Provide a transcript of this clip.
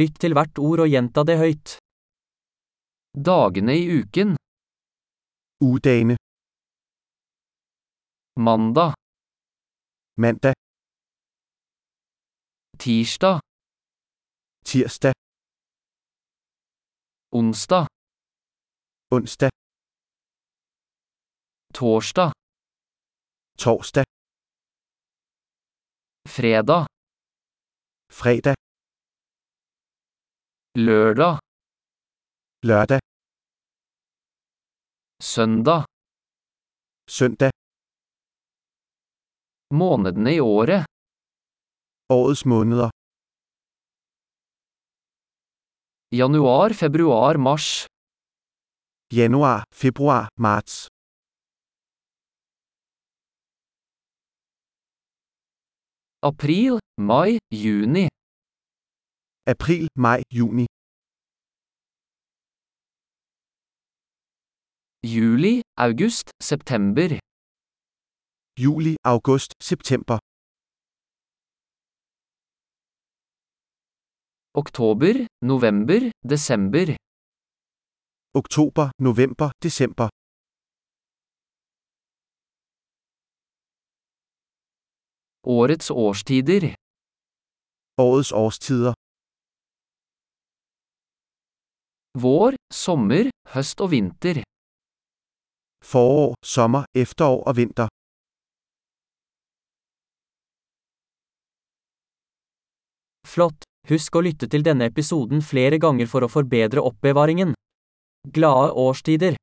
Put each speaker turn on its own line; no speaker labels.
Lytt til hvert ord og gjenta det høyt. Dagene i uken.
Ugedagene,
Mandag,
mandag,
tirsdag,
tirsdag,
onsdag,
onsdag,
torsdag,
torsdag,
fredag,
fredag,
lørdag,
lørdag,
søndag,
søndag,
månedene i året,
årets måneder.
januar, februar, mars,
Januar, februar, marts.
april, mai, juni,
April, maj, juni,
juli, august, september,
juli, august, september,
oktober, november, desember,
oktober, november, december,
årets årstider,
årets årstider.
vår, sommer, høst og vinter,
Forår, sommer, efterår og vinter.
Flott! Husk å lytte til denne episoden flere ganger for å forbedre oppbevaringen. Glade årstider!